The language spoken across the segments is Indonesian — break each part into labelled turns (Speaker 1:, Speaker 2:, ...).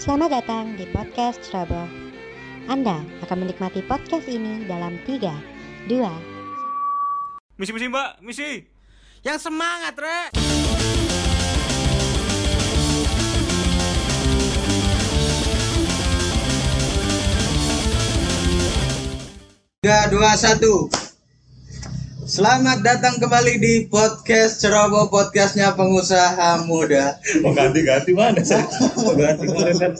Speaker 1: Selamat datang di podcast Trouble. Anda akan menikmati podcast ini dalam 3, 2,
Speaker 2: Misi misi mbak, misi.
Speaker 3: Yang semangat, Rek. Tiga, dua, satu. Selamat datang kembali di podcast Ceroboh podcastnya pengusaha muda.
Speaker 4: Mau ganti-ganti mana saya? Mau ganti kemarin kan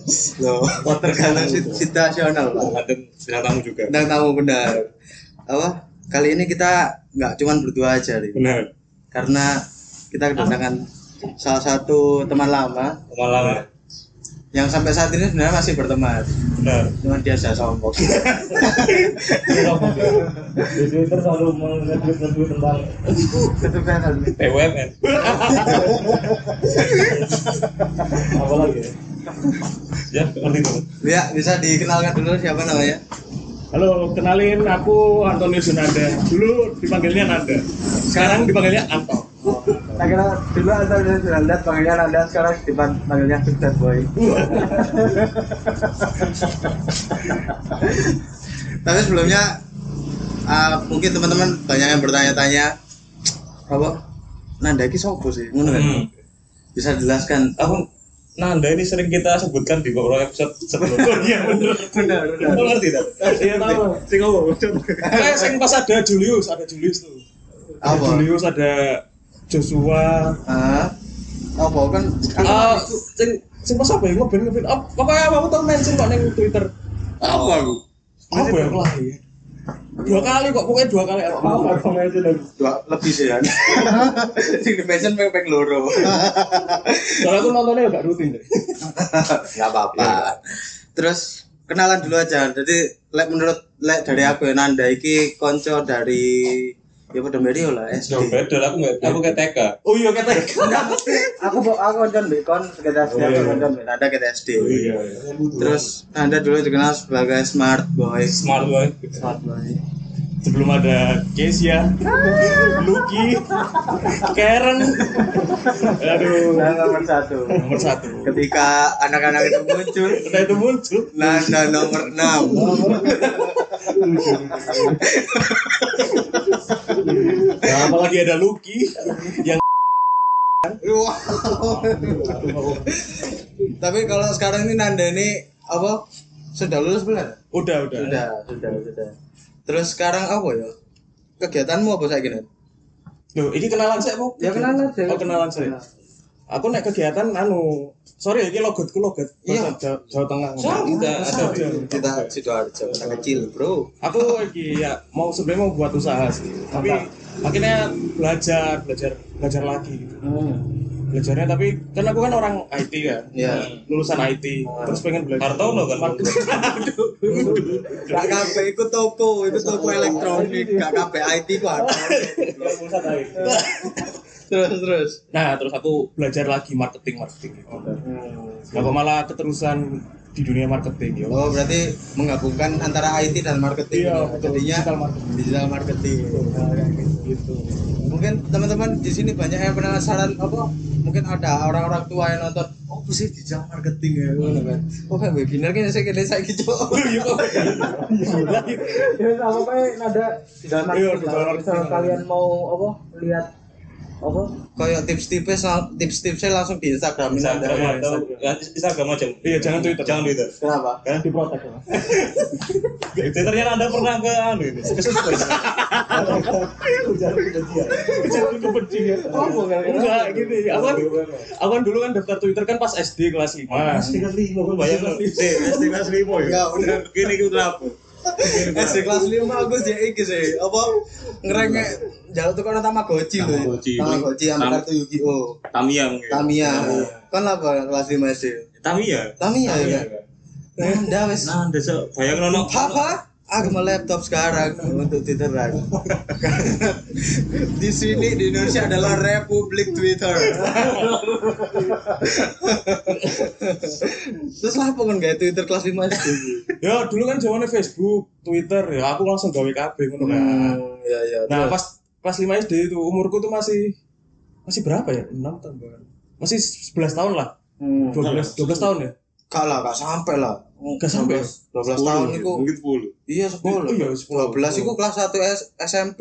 Speaker 3: Loh, terkadang sit- situasional pak.
Speaker 4: ada sinar tamu juga.
Speaker 3: Dan tamu benar. Apa? Kali ini kita nggak cuman berdua aja nih,
Speaker 4: Benar.
Speaker 3: karena kita kedatangan salah satu teman lama
Speaker 4: Malam.
Speaker 3: yang sampai saat ini sebenarnya masih berteman
Speaker 4: Benar.
Speaker 3: cuman dia sudah sombong
Speaker 5: di Twitter selalu mengetik ngetik tentang
Speaker 3: tetep kan kali ini.
Speaker 4: BUMN.
Speaker 5: apa lagi ya?
Speaker 4: Ya, seperti itu.
Speaker 3: ya bisa dikenalkan dulu siapa namanya
Speaker 5: Halo, kenalin aku Antonius Sunanda. Dulu dipanggilnya Nanda. Sekarang dipanggilnya Anto.
Speaker 3: saya kira dulu atau sudah lihat panggilnya Nanda sekarang dipanggilnya Big Bad Boy tapi sebelumnya ah, mungkin teman-teman banyak yang bertanya-tanya apa Nanda ini sopo sih ngono kan?
Speaker 4: Hmm.
Speaker 3: bisa oh, jelaskan
Speaker 4: Aku Nanda ini sering kita sebutkan di beberapa episode sebelumnya. Iya, benar.
Speaker 3: benar
Speaker 4: Kamu ngerti tak?
Speaker 5: Oh, Iya tahu. Sing ngomong. Kayak sing pas ada Julius, ada Julius tuh. Ada
Speaker 3: apa
Speaker 5: Julius ada Joshua.
Speaker 3: ah apa kan
Speaker 5: Ah, sing sing pas apa ya? Ngeband ngeband. Apa pokoknya apa aku tau mention kok neng Twitter.
Speaker 3: apa aku
Speaker 5: Apa ya? yang lahir? Dua kali kok pokoknya dua kali aku mau. Aku mention lagi.
Speaker 3: dua lebih sih kan sing di mention peng peng loro
Speaker 5: Soalnya aku nontonnya agak rutin deh.
Speaker 3: nggak apa apa terus kenalan dulu aja jadi lek menurut lek dari aku ya, Nanda iki konco dari ya pada Mario lah
Speaker 4: Jauh
Speaker 3: SD
Speaker 4: beda. Aku nggak. Aku kayak TK.
Speaker 5: Oh iya kata
Speaker 3: Nggak, mesti. aku bo- aku konco Bekon sekitar SD aku konco mbek Nanda kita SD
Speaker 4: Oh Iya.
Speaker 3: terus Nanda dulu dikenal sebagai smart boy
Speaker 4: Smart boy.
Speaker 3: smart boy
Speaker 5: sebelum ada Kesia, Lucky, Karen, aduh
Speaker 3: Nah, nomor satu
Speaker 5: nomor satu.
Speaker 3: ketika anak-anak itu muncul
Speaker 5: Ketika itu muncul,
Speaker 3: Nanda nomor 6
Speaker 5: nah, apalagi ada Lucky yang
Speaker 3: Tapi kalau sekarang ini Nanda ini apa sudah lulus belum?
Speaker 5: udah udah.
Speaker 3: Sudah, sudah, sudah. Terus sekarang apa ya? Kegiatanmu apa saya gini?
Speaker 5: Loh, ini kenalan saya bu?
Speaker 3: Ya, kenalan saya.
Speaker 5: Oh kenalan saya. Aku naik kegiatan anu, sorry ini logatku logat.
Speaker 3: Iya.
Speaker 5: Jawa, Jawa Tengah.
Speaker 4: Soalnya kita ada.
Speaker 3: Kita sidoarjo, anak kecil bro.
Speaker 5: Aku lagi ya mau sebenarnya mau buat usaha sih, tapi akhirnya belajar belajar belajar lagi. gitu. belajarnya tapi kan aku kan orang IT ya
Speaker 3: Iya.
Speaker 5: lulusan IT terus pengen belajar
Speaker 4: Hartono kan.
Speaker 3: Gak kabeh ikut toko, ikut toko elektronik, gak kabeh IT ku ada.
Speaker 5: Iya, lulusan IT
Speaker 3: Terus terus.
Speaker 5: nah terus aku belajar lagi marketing marketing gitu
Speaker 3: Hmm.
Speaker 5: nah kok malah keterusan di dunia marketing ya
Speaker 3: Oh berarti menggabungkan antara IT dan marketing.
Speaker 5: Iya,
Speaker 3: ya.
Speaker 5: betul.
Speaker 3: Jadinya
Speaker 5: Digital marketing.
Speaker 3: digital marketing. Nah, kayak gitu.
Speaker 5: gitu
Speaker 3: mungkin teman-teman di sini banyak yang penasaran apa mungkin ada orang-orang tua yang nonton oh apa sih digital marketing ya ngono kan oh kayak webinar kan saya kira saya gitu
Speaker 6: Ya apa kayak nada dalam
Speaker 5: Iya,
Speaker 6: marketing
Speaker 5: dalam
Speaker 6: lah. Misal
Speaker 5: marketing.
Speaker 6: kalian mau apa lihat apa
Speaker 3: kayak tips-tips tips-tipsnya langsung di Instagram ini ada
Speaker 4: Instagram atau Ya, Instagram aja.
Speaker 5: iya jangan Twitter Kan?
Speaker 4: Jangan Twitter.
Speaker 3: kenapa
Speaker 6: diprotek ya.
Speaker 4: Twitternya Anda pernah ke anu ini? Ke
Speaker 5: ya?
Speaker 4: Sukses.
Speaker 5: jangan kebencian enggak gini aku kan aku kan dulu kan daftar Twitter kan pas SD kelas 5
Speaker 4: kelas lima, gue bayang lo. Eh, SD kelas lima
Speaker 3: enggak
Speaker 4: ya.
Speaker 3: udah
Speaker 4: Gini gue kenapa?
Speaker 3: SD kelas 5 aku sih iki sih apa Iya. ngerengek jalur tuh karena Tamagotchi loh
Speaker 4: Tamagotchi.
Speaker 3: Tamagotchi sama
Speaker 4: Tam-
Speaker 3: kartu Yu-Gi-Oh
Speaker 4: Tamiya
Speaker 3: ya.
Speaker 4: mungkin.
Speaker 3: Tamiya kan apa kelas 5 SD
Speaker 4: Tamiya.
Speaker 3: Tamiya ya
Speaker 5: Iya.
Speaker 3: kan Nanda wes
Speaker 4: Nah, desa bayang nono.
Speaker 3: Papa, aku mau laptop sekarang untuk Twitteran. di sini di Indonesia adalah Republik Twitter. Terus lah pengen gak Twitter kelas 5 SD.
Speaker 5: ya dulu kan zamannya Facebook Twitter ya aku langsung gawe KB ngono kan
Speaker 3: Hmm, ya ya.
Speaker 5: Nah,
Speaker 3: terus.
Speaker 5: pas kelas 5 SD itu umurku tuh masih masih berapa ya? 6 tahun bahkan. Masih 11 tahun lah.
Speaker 3: Hmm.
Speaker 5: 12 12 tahun ya.
Speaker 3: Gak lah, gak sampai lah.
Speaker 5: Gak sampai. ya?
Speaker 3: 12 tahun itu.
Speaker 4: mungkin 10.
Speaker 3: ya? Iya 10.
Speaker 5: Oh iya, 10.
Speaker 3: 12 itu kelas 1 S- SMP.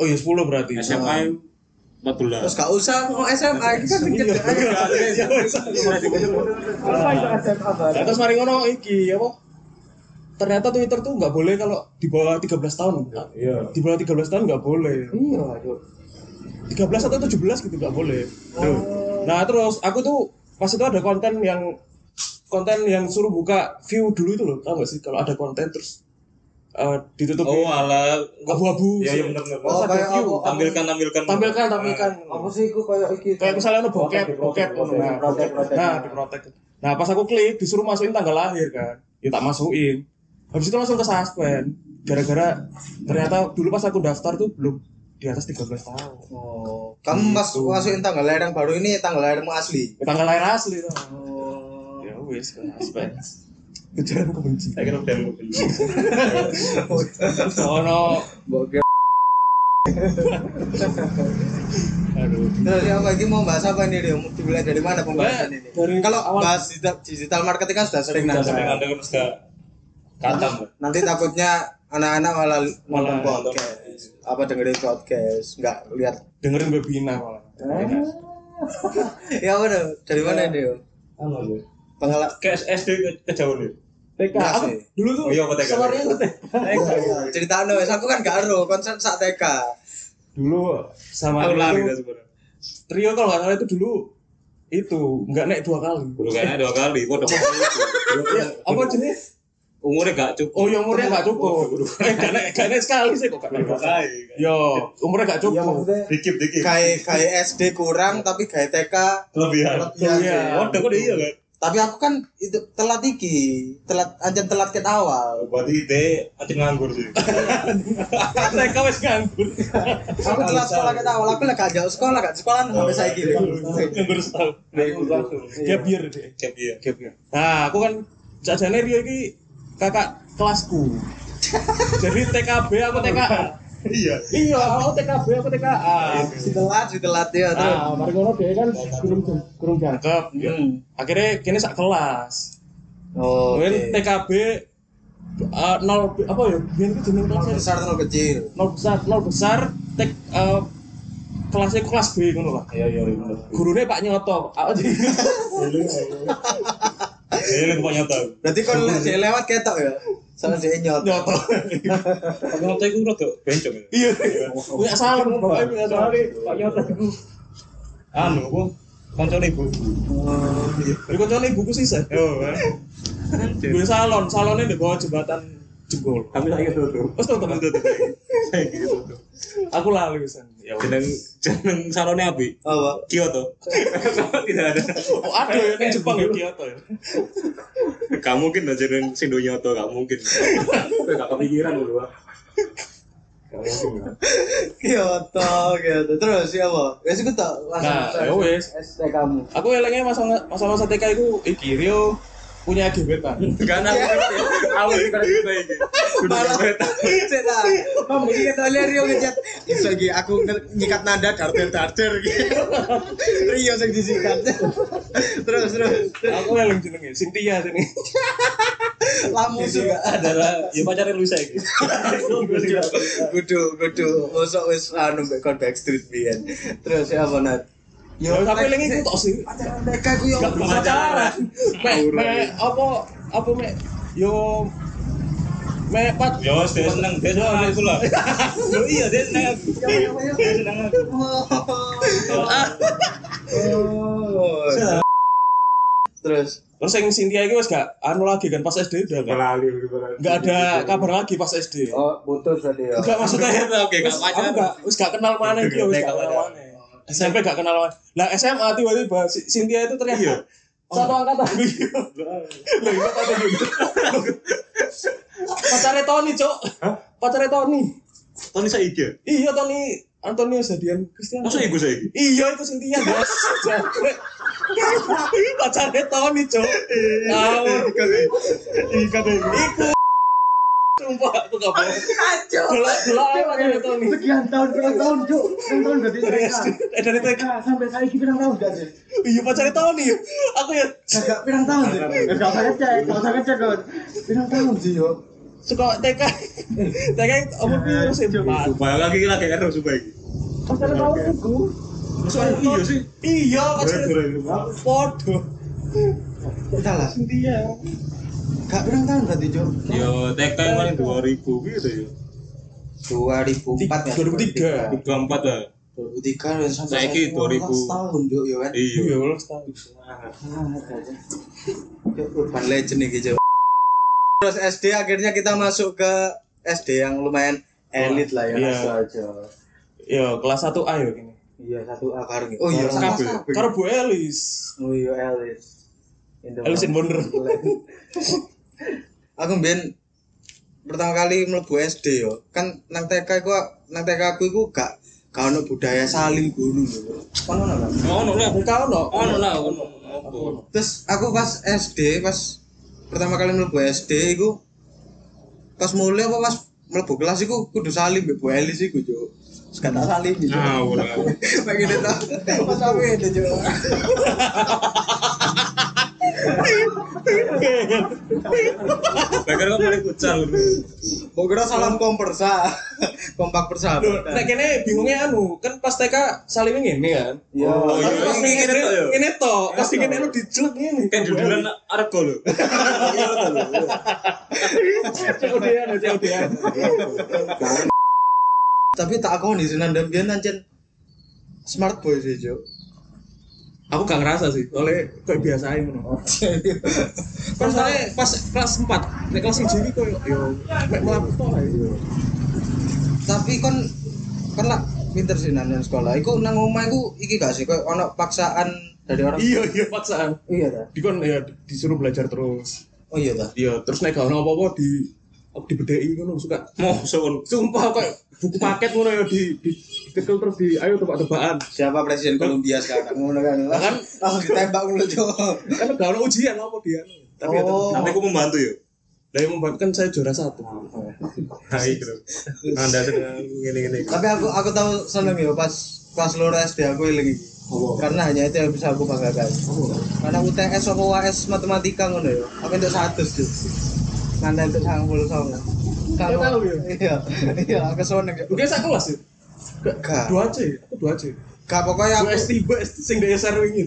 Speaker 5: Oh ya 10 berarti.
Speaker 4: SMA 14.
Speaker 3: Terus gak usah mau SMA ini kan dikit aja. Iya,
Speaker 6: Apa itu SMA
Speaker 5: Nah,
Speaker 6: baru?
Speaker 5: terus mari ngono iki apa? Ternyata Twitter tuh nggak boleh kalau di bawah 13 tahun.
Speaker 4: Iya.
Speaker 5: Di bawah 13 tahun nggak boleh.
Speaker 6: Iya, aduh.
Speaker 5: 13 atau 17 gitu nggak boleh.
Speaker 4: Oh.
Speaker 5: Tuh. Nah, terus aku tuh pas itu ada konten yang konten yang suruh buka view dulu itu loh, tau gak sih kalau ada konten terus eh, ditutup
Speaker 4: Oh, ala
Speaker 5: abu-abu.
Speaker 4: Iya, iya benar benar.
Speaker 3: Oh, kayak
Speaker 5: view.
Speaker 3: apa?
Speaker 4: Tampilkan tampilkan.
Speaker 5: Tampilkan, tampilkan.
Speaker 6: Apa sih iku kayak iki?
Speaker 3: Eh,
Speaker 5: Kayak misalnya ono bokep, bokep ono. Nah,
Speaker 6: Protek, protek.
Speaker 5: Nah, di protek. Nah, pas aku klik disuruh masukin tanggal lahir kan. Ya tak masukin. Habis itu langsung ke suspend. Gara-gara ternyata dulu pas aku daftar tuh belum di atas 13 tahun.
Speaker 6: Oh.
Speaker 3: Kamu mas masukin tanggal lahir yang baru ini tanggal lahirmu asli.
Speaker 5: Ya, tanggal lahir asli tuh.
Speaker 6: Oh.
Speaker 5: Ya wis, ke suspend. Kejaran kebenci.
Speaker 4: Saya kira udah mau beli.
Speaker 5: Ono
Speaker 3: Bokep.
Speaker 5: aduh.
Speaker 3: Terus ya, apa ini mau bahas apa ini dia? Mau dimulai dari mana pembahasan ini?
Speaker 5: Dari
Speaker 3: Kalau
Speaker 5: awal.
Speaker 3: bahas digital- digital marketing kan sudah sering
Speaker 4: Jangan
Speaker 3: nanti.
Speaker 4: sampai anda harus ke katam. Mbak.
Speaker 3: Nanti takutnya anak-anak malah nonton
Speaker 4: Malah
Speaker 3: podcast, apa dengerin podcast, nggak lihat.
Speaker 5: dengerin Bebina malah.
Speaker 3: Ya udah, dari mana ini? Pengalaman
Speaker 4: Kayak SD ke, ya. ke jauh deh.
Speaker 6: TK.
Speaker 3: Enggak
Speaker 5: Nah, Aku
Speaker 3: sih.
Speaker 5: dulu tuh
Speaker 4: Oh iya, kok TK.
Speaker 5: selernya tuh
Speaker 3: iya. cerita no, aku kan gak ero konsen sak TK.
Speaker 5: dulu sama
Speaker 4: Aku lari
Speaker 5: itu,
Speaker 4: kan sebenarnya.
Speaker 5: trio kalau nggak salah itu dulu itu nggak naik dua kali.
Speaker 4: Dulu kayaknya dua kali. Kok dapat
Speaker 5: Ya, apa jenis?
Speaker 4: umurnya gak cukup.
Speaker 5: Oh, iya. yang umurnya nggak cukup. Eh, nggak naik, nggak naik sekali sih kok. nggak naik dua kali. Yo, umurnya nggak
Speaker 6: Iya
Speaker 5: cukup.
Speaker 6: maksudnya
Speaker 4: Dikit dikit.
Speaker 3: Kayak kayak SD kurang tapi kayak TK
Speaker 4: Kelebihan.
Speaker 3: latihan.
Speaker 5: Iya.
Speaker 3: sih.
Speaker 4: Oh, udah kok iya kan.
Speaker 3: Tapi aku kan itu telat iki, telat aja telat ket awal.
Speaker 4: Berarti ide aja nganggur sih.
Speaker 5: Saya kawes nganggur.
Speaker 3: Aku telat sekolah ket awal, aku lah gak jauh sekolah, gak sekolah sampai saiki.
Speaker 5: Nganggur setahun. Gap year deh.
Speaker 4: Kayak iya.
Speaker 5: Gap year. Nah, aku kan sajane Rio ini kakak kelasku. Jadi TKB aku TKA.
Speaker 4: Iya.
Speaker 5: Iya, aku TKB aku TKA.
Speaker 3: Si telat, si telat
Speaker 4: Ah,
Speaker 3: ya. terus.
Speaker 5: Nah, mari ngono dia kan kurung kurung jangkep. Akhirnya kini sak kelas.
Speaker 3: Oh, oke.
Speaker 5: Mungkin TKB eh, nol apa ya? Biar itu jeneng
Speaker 3: Nol
Speaker 5: kelasnya ya?
Speaker 3: besar nol kecil.
Speaker 5: nol besar, nol besar. Tek eh, kelasnya kelas B ngono lah.
Speaker 4: Iya iya.
Speaker 5: Gurunya Pak Nyoto. Aku jadi
Speaker 4: Iya, Ini lupa nyata.
Speaker 3: Berarti kon lek dhek lewat ketok ya. Soalnya dhek nyot.
Speaker 5: Nyoto.
Speaker 4: Tapi waktu itu rada bencong ya.
Speaker 5: Iya. Punya salam pokoknya punya salam. Pak Nyoto.
Speaker 4: Anu, aku koncone ibu.
Speaker 3: Oh,
Speaker 5: Iku kocone ibuku sih saya. Gue salon, salonnya di bawah jembatan jebol.
Speaker 4: Tapi saya tutup.
Speaker 5: Terus tuh teman
Speaker 4: Tutup. Saya tutup.
Speaker 5: aku lalu sen. Ya udah.
Speaker 4: Jeneng jeneng salone api.
Speaker 3: Apa?
Speaker 4: Kyoto. Tidak ada.
Speaker 5: Oh ada ya ini Jepang ya Kyoto ya.
Speaker 4: Gak mungkin lah jeneng sing do nyoto gak mungkin. Gak kepikiran dulu.
Speaker 3: Kyoto, Iya, gitu. Terus ya apa? Wes iku tak langsung.
Speaker 5: Nah, ya wes.
Speaker 6: ST kamu.
Speaker 5: Aku elengnya masa masa TK itu iki Rio eh, punya gebetan.
Speaker 4: Gak nak ngerti. Aku ini kan kita ini. Sudah
Speaker 3: Malah. Iya,
Speaker 4: sampai
Speaker 3: Cek lah. Mam iki ketok liar yo ngejat. Iso iki aku nge- nyikat nada darder-darder iki. Rio sing disikat. Terus terus.
Speaker 5: aku yang jenenge Cynthia sini
Speaker 3: Lamusu gak ada.
Speaker 4: ya pacarnya Luisa iki.
Speaker 3: Kudu kudu mosok wis anu mbek kon backstreet biyen. Terus ya apa nat?
Speaker 5: ya tapi lengi
Speaker 3: lagi
Speaker 5: aku tok sih
Speaker 3: Pacaran TK ku yo.
Speaker 5: gak pacaran me me apa apa me yo me pat
Speaker 4: Yo, dia seneng, dia seneng Ya aku lah. Yo iya, dia seneng aku. Dia seneng aku.
Speaker 3: Oh. Terus
Speaker 5: terus yang Cynthia itu wes gak anu lagi kan pas SD udah kan gak ada kabar lagi pas SD
Speaker 6: Oh, putus tadi ya.
Speaker 5: gak maksudnya ya
Speaker 4: Oke, gak
Speaker 5: aku
Speaker 4: pacaran.
Speaker 5: gak wes gak kenal mana gitu wes gak kenal mana SMP gak kenal mana lah SMA tiba-tiba si- Cynthia itu ternyata satu
Speaker 4: Oh.
Speaker 5: angkatan iya Loh, iya, pacar gitu. pacarnya Tony cok pacarnya Tony
Speaker 4: Tony saiki.
Speaker 5: Iya Tony Antonio Sadian Cristiano.
Speaker 4: Masa iku saiki?
Speaker 5: Iya itu Cynthia guys. Jangkrik. Pacarnya Tony cok. Tahu. Iku. Cuk. sumpah aku gak bohong.
Speaker 3: Kacau.
Speaker 5: Delok delok apa tuh itu nih?
Speaker 6: Sekian tahun, berapa tahun, Cuk? Berapa tahun dari
Speaker 5: Dari
Speaker 6: TK?
Speaker 5: SD, eh dari TK.
Speaker 6: Nah, sampai saya ini pirang tahun gak sih?
Speaker 5: Iya pacarnya tahun nih. Aku ya
Speaker 6: Gak pirang tahun sih. Gak usah ngecek, gak usah ngecek, Don. Pirang tahun sih, yo.
Speaker 5: suka TK. TK umur biru sih Pak.
Speaker 4: Sumpah lagi lagi error sumpah iki.
Speaker 6: Pacaran tahun
Speaker 4: Oke.
Speaker 6: itu.
Speaker 4: Masa ada iya sih.
Speaker 5: Iya pacarnya
Speaker 4: Boleh, boleh.
Speaker 5: podo.
Speaker 3: Udah lah.
Speaker 5: Iya.
Speaker 3: Gak pirang tahun berarti, Cuk.
Speaker 4: Yo TK paling 2000 gitu ya.
Speaker 3: 2004 ya.
Speaker 5: 2003.
Speaker 4: 24 lah.
Speaker 3: 2003 dan sampai
Speaker 4: Saiki
Speaker 3: saiki
Speaker 4: 2000.
Speaker 3: tahun, Cuk, ya kan.
Speaker 5: Iya
Speaker 4: Iya.
Speaker 5: ulas tahun.
Speaker 3: Cuk, Urban legend iki, Cuk. Terus SD akhirnya kita masuk ke SD yang lumayan elit lah ya.
Speaker 5: Iya.
Speaker 6: Itu aja.
Speaker 5: Iya kelas 1 A ya ini.
Speaker 6: Iya, satu A.
Speaker 3: Bareng. Oh iya,
Speaker 5: Bareng
Speaker 3: sama
Speaker 4: kabeh.
Speaker 3: sama.
Speaker 5: Karo Bu Elis.
Speaker 6: Oh iya, Alice. In the
Speaker 5: Alice in Wonder.
Speaker 3: aku mbien pertama kali mlebu SD yo kan nang TK iku nang TK aku iku gak gak ono budaya saling guru lho
Speaker 6: Mana lah?
Speaker 4: Ono lah.
Speaker 5: Kau no.
Speaker 4: Ono lah ono. Apa?
Speaker 3: terus aku pas SD pas pertama kali mlebu SD iku pas mulai apa pas mlebu kelas iku kudu salim mbek Bu Elis iku yo gak tak salim gitu
Speaker 4: Nah, ora.
Speaker 3: pengen itu pas aku itu yo
Speaker 4: Bahkan kok boleh kucal.
Speaker 3: mau kira salam kompersa kompak
Speaker 5: Duh,
Speaker 3: persahabatan
Speaker 5: Nek kene bingungnya anu, kan pas TK salimnya ngene kan.
Speaker 6: Iya.
Speaker 4: Oh,
Speaker 5: Tapi
Speaker 4: iya,
Speaker 5: pas
Speaker 4: ini
Speaker 5: ngene
Speaker 4: ngene tok ya?
Speaker 5: ngene tok, pas ngene lu dijeluk ngene.
Speaker 4: Kan judulan argo lho.
Speaker 5: COD-an, COD-an.
Speaker 3: tapi tak aku di sini dan ancen smart boy sih jo
Speaker 5: Aku gak ngerasa sih, oleh kayak biasa aja ngono. Pas Oh. soalnya pas kelas 4, nek kelas 1 iki koyo yo mek mlaku tok lah yo.
Speaker 3: tapi kon kon lah pinter sih nang nang sekolah iku nang omah iku iki gak sih koyo ono paksaan dari orang
Speaker 5: Iya, iya paksaan.
Speaker 6: Iya dah.
Speaker 5: Dikon ya disuruh belajar terus.
Speaker 3: oh iya ta
Speaker 5: Iya, terus nek gak ono apa-apa di dibedheki ngono suka
Speaker 4: Mau soun.
Speaker 5: sumpah kayak buku paket ngono ya di di ditekel terus di ayo tebak-tebakan
Speaker 3: siapa presiden Kolombia sekarang ngono kan
Speaker 5: Kan-
Speaker 3: langsung ditembak mulu jo
Speaker 5: karena Kan gak ada ujian apa dia tapi ya
Speaker 3: Oh.
Speaker 5: tetap
Speaker 4: Nanti aku membantu yo.
Speaker 5: lah yang membuat kan saya juara satu
Speaker 4: Nah, itu. Anda sedang ngene-ngene.
Speaker 3: tapi aku aku tahu seneng ya pas pas loro SD aku eling iki karena hanya itu yang bisa aku banggakan karena UTS apa UAS matematika ngono ya aku entuk 100 jo nanti entuk 90 sama
Speaker 5: Iya, tahu ya?
Speaker 3: iya iya aku seneng ya
Speaker 5: mungkin saya kelas ya Gak-
Speaker 3: Gak.
Speaker 5: dua aja ya? aku dua aja
Speaker 3: gak pokoknya
Speaker 5: aku
Speaker 3: aku
Speaker 5: S3 S sing di SR ini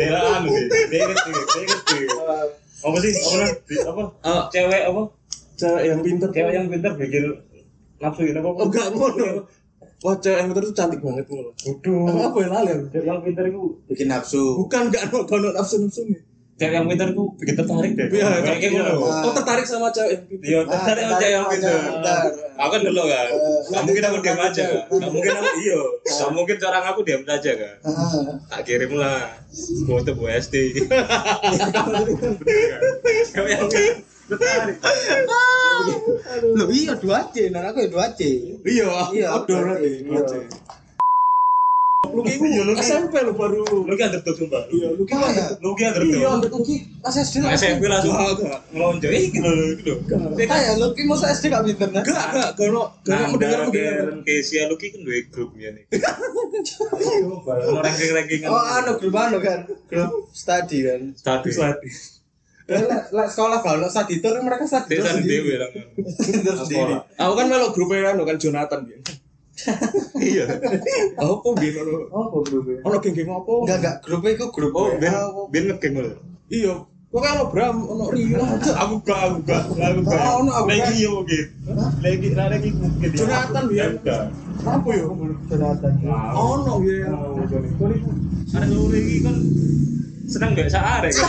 Speaker 4: Daerah anu sih. Daerah sih. Daerah sih. Apa sih? Apa? nah? Di- Apa?
Speaker 5: Eh,
Speaker 4: Cewek apa?
Speaker 5: cewek yang pinter
Speaker 4: Cewek yang pintar bikin nafsu gitu apa?
Speaker 5: oh gak ngono wah cewek yang pinter itu cantik banget ngono Apa
Speaker 4: Hmm. Waduh.
Speaker 5: apa ya lali aku
Speaker 4: Cewek yang pintar itu
Speaker 3: bikin nafsu
Speaker 5: bukan gak ada gak ada nafsu nafsu nih
Speaker 4: cewek yang pintar itu bikin tertarik deh.
Speaker 5: Iya,
Speaker 4: Kayak
Speaker 5: kayak
Speaker 4: gitu.
Speaker 5: gitu. Oh, tertarik sama cewek yang pinter.
Speaker 4: Iya,
Speaker 3: Ah,
Speaker 4: tertarik sama
Speaker 5: ya,
Speaker 4: cewek yang pintar.
Speaker 3: Pintar.
Speaker 4: Aku kan dulu kan, gak mungkin aku diam aja kan. Gak mungkin aku, iya, gak mungkin orang aku diam aja kan.
Speaker 3: Ah.
Speaker 4: Tak kirim lah, foto Bu SD. Kau yang tertarik.
Speaker 3: Loh iya 2C, nah aku ya 2C.
Speaker 5: Iya,
Speaker 3: Iya,
Speaker 5: aku udah berarti.
Speaker 3: iya.
Speaker 5: Lu kiku SMP lu baru.
Speaker 4: Lu kan underdog sumpah.
Speaker 5: Iya, lu kiku
Speaker 3: Iya.
Speaker 5: ada-
Speaker 4: Lu kan
Speaker 5: Iya,
Speaker 4: underdog.
Speaker 5: untuk kuki.
Speaker 3: Mas SD lah.
Speaker 4: SMP langsung
Speaker 5: Gak, gak.
Speaker 4: ngelonjok. Ih, gitu loh, gitu.
Speaker 3: Kayak lu ki masa SD gak pinter nah.
Speaker 5: Gak, gak, gak ono, gak ono
Speaker 4: Nanda,
Speaker 5: mendengar mendengar.
Speaker 4: Karen, Nah, Kesia, Lucky kan dua grup ya nih. Kalau ranking-rankingan.
Speaker 3: Oh anu grup anu kan, grup study kan.
Speaker 4: Tadi.
Speaker 5: Slide.
Speaker 3: Eh, Lah lah, sekolah gak ono study tour mereka study tour
Speaker 4: Desa di
Speaker 3: sendiri.
Speaker 4: kan Dewi lah.
Speaker 3: Tour sendiri.
Speaker 5: Aku kan melok grupnya anu kan Jonathan biyen.
Speaker 4: Iya.
Speaker 5: Apa biyen ono
Speaker 6: Oh, goblok.
Speaker 5: ono geng-geng
Speaker 3: Enggak
Speaker 5: apa?
Speaker 3: enggak, grupnya iku grup.
Speaker 4: Oh,
Speaker 3: WA.
Speaker 4: Ben, Ben ngegeng loh.
Speaker 5: Iya. Kok kan ono Bram, ono Rio.
Speaker 4: Aku gak, aku gak, aku gak.
Speaker 3: Oh, no, aku
Speaker 4: Lagi
Speaker 3: gak.
Speaker 4: ya mungkin. Lagi, nah, lagi mungkin. ya.
Speaker 5: Jonathan, ya.
Speaker 4: Aku gak.
Speaker 5: Apa ya?
Speaker 6: Jonathan.
Speaker 4: Wow.
Speaker 5: Ono ya.
Speaker 4: Ada dulu ini kan seneng gak saat kan.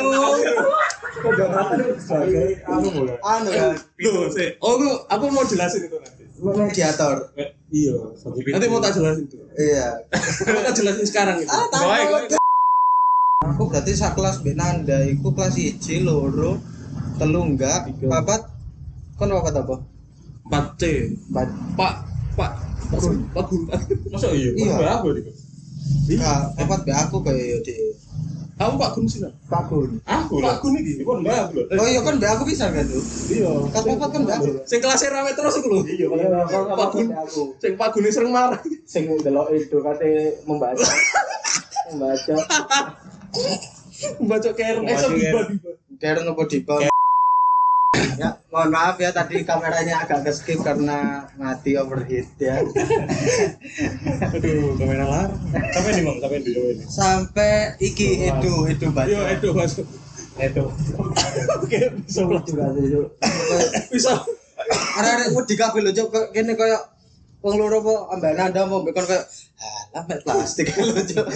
Speaker 6: Kok Jonathan itu sebagai anu loh.
Speaker 3: Anu kan,
Speaker 4: Gitu,
Speaker 5: Loh, sik. Oh, aku- aku mau jelasin itu nanti.
Speaker 3: mediator.
Speaker 5: Iya, nanti mau tak jelasin itu.
Speaker 3: Iya.
Speaker 5: Mau tak jelasin sekarang itu.
Speaker 3: Ah,
Speaker 4: Baik,
Speaker 3: takut.
Speaker 4: baik.
Speaker 3: Aku berarti sak kelas mbek Nanda iku kelas 1 loro telu enggak, papat kon papat apa?
Speaker 5: 4C.
Speaker 3: Empat.
Speaker 5: Pak, Pak, Pak Gun, Pak Gun, Pak.
Speaker 4: Masa iya?
Speaker 3: Iya.
Speaker 4: Iya. Aku nih.
Speaker 3: Iya, papat mbek aku kayak yo, ya, Dik.
Speaker 5: Aku Pak Gun sih. Nak.
Speaker 6: Pak Gun.
Speaker 4: Aku
Speaker 5: Pak
Speaker 4: lah.
Speaker 5: Gun iki.
Speaker 4: Ini pun mbak aku lah.
Speaker 3: Oh iya kan mbak aku bisa kan tuh.
Speaker 5: Iya.
Speaker 3: Kak Papat kan mbak aku.
Speaker 5: Sing kelasnya rame terus iku lho.
Speaker 4: Iya,
Speaker 6: Iya, kok
Speaker 5: Pak
Speaker 6: kok
Speaker 5: Gun.
Speaker 6: aku.
Speaker 5: Sing Pak Gun sering marah.
Speaker 6: Sing ndelok itu kate membaca. membaca.
Speaker 5: Membaca Karen. Eh,
Speaker 4: Membaca
Speaker 5: sok
Speaker 4: Karen.
Speaker 5: biba-biba.
Speaker 3: Karen apa Dipa? Ya, mohon maaf ya tadi kameranya agak ke skip karena mati overheat ya.
Speaker 5: Aduh, kamera larang.
Speaker 4: Sampai nih, Mam, sampai nih, sampai nih.
Speaker 3: Sampai iki Edo Edo baca.
Speaker 5: Yo, Edo masuk.
Speaker 4: Itu.
Speaker 5: Oke, bisa lah.
Speaker 6: Juga sih, Cuk.
Speaker 5: Bisa.
Speaker 3: Arek-arek wedi kabeh lho Cuk. Kayak kene koyo wong loro apa ambek nanda mau mbek kon koyo alah mek plastik lho Cuk.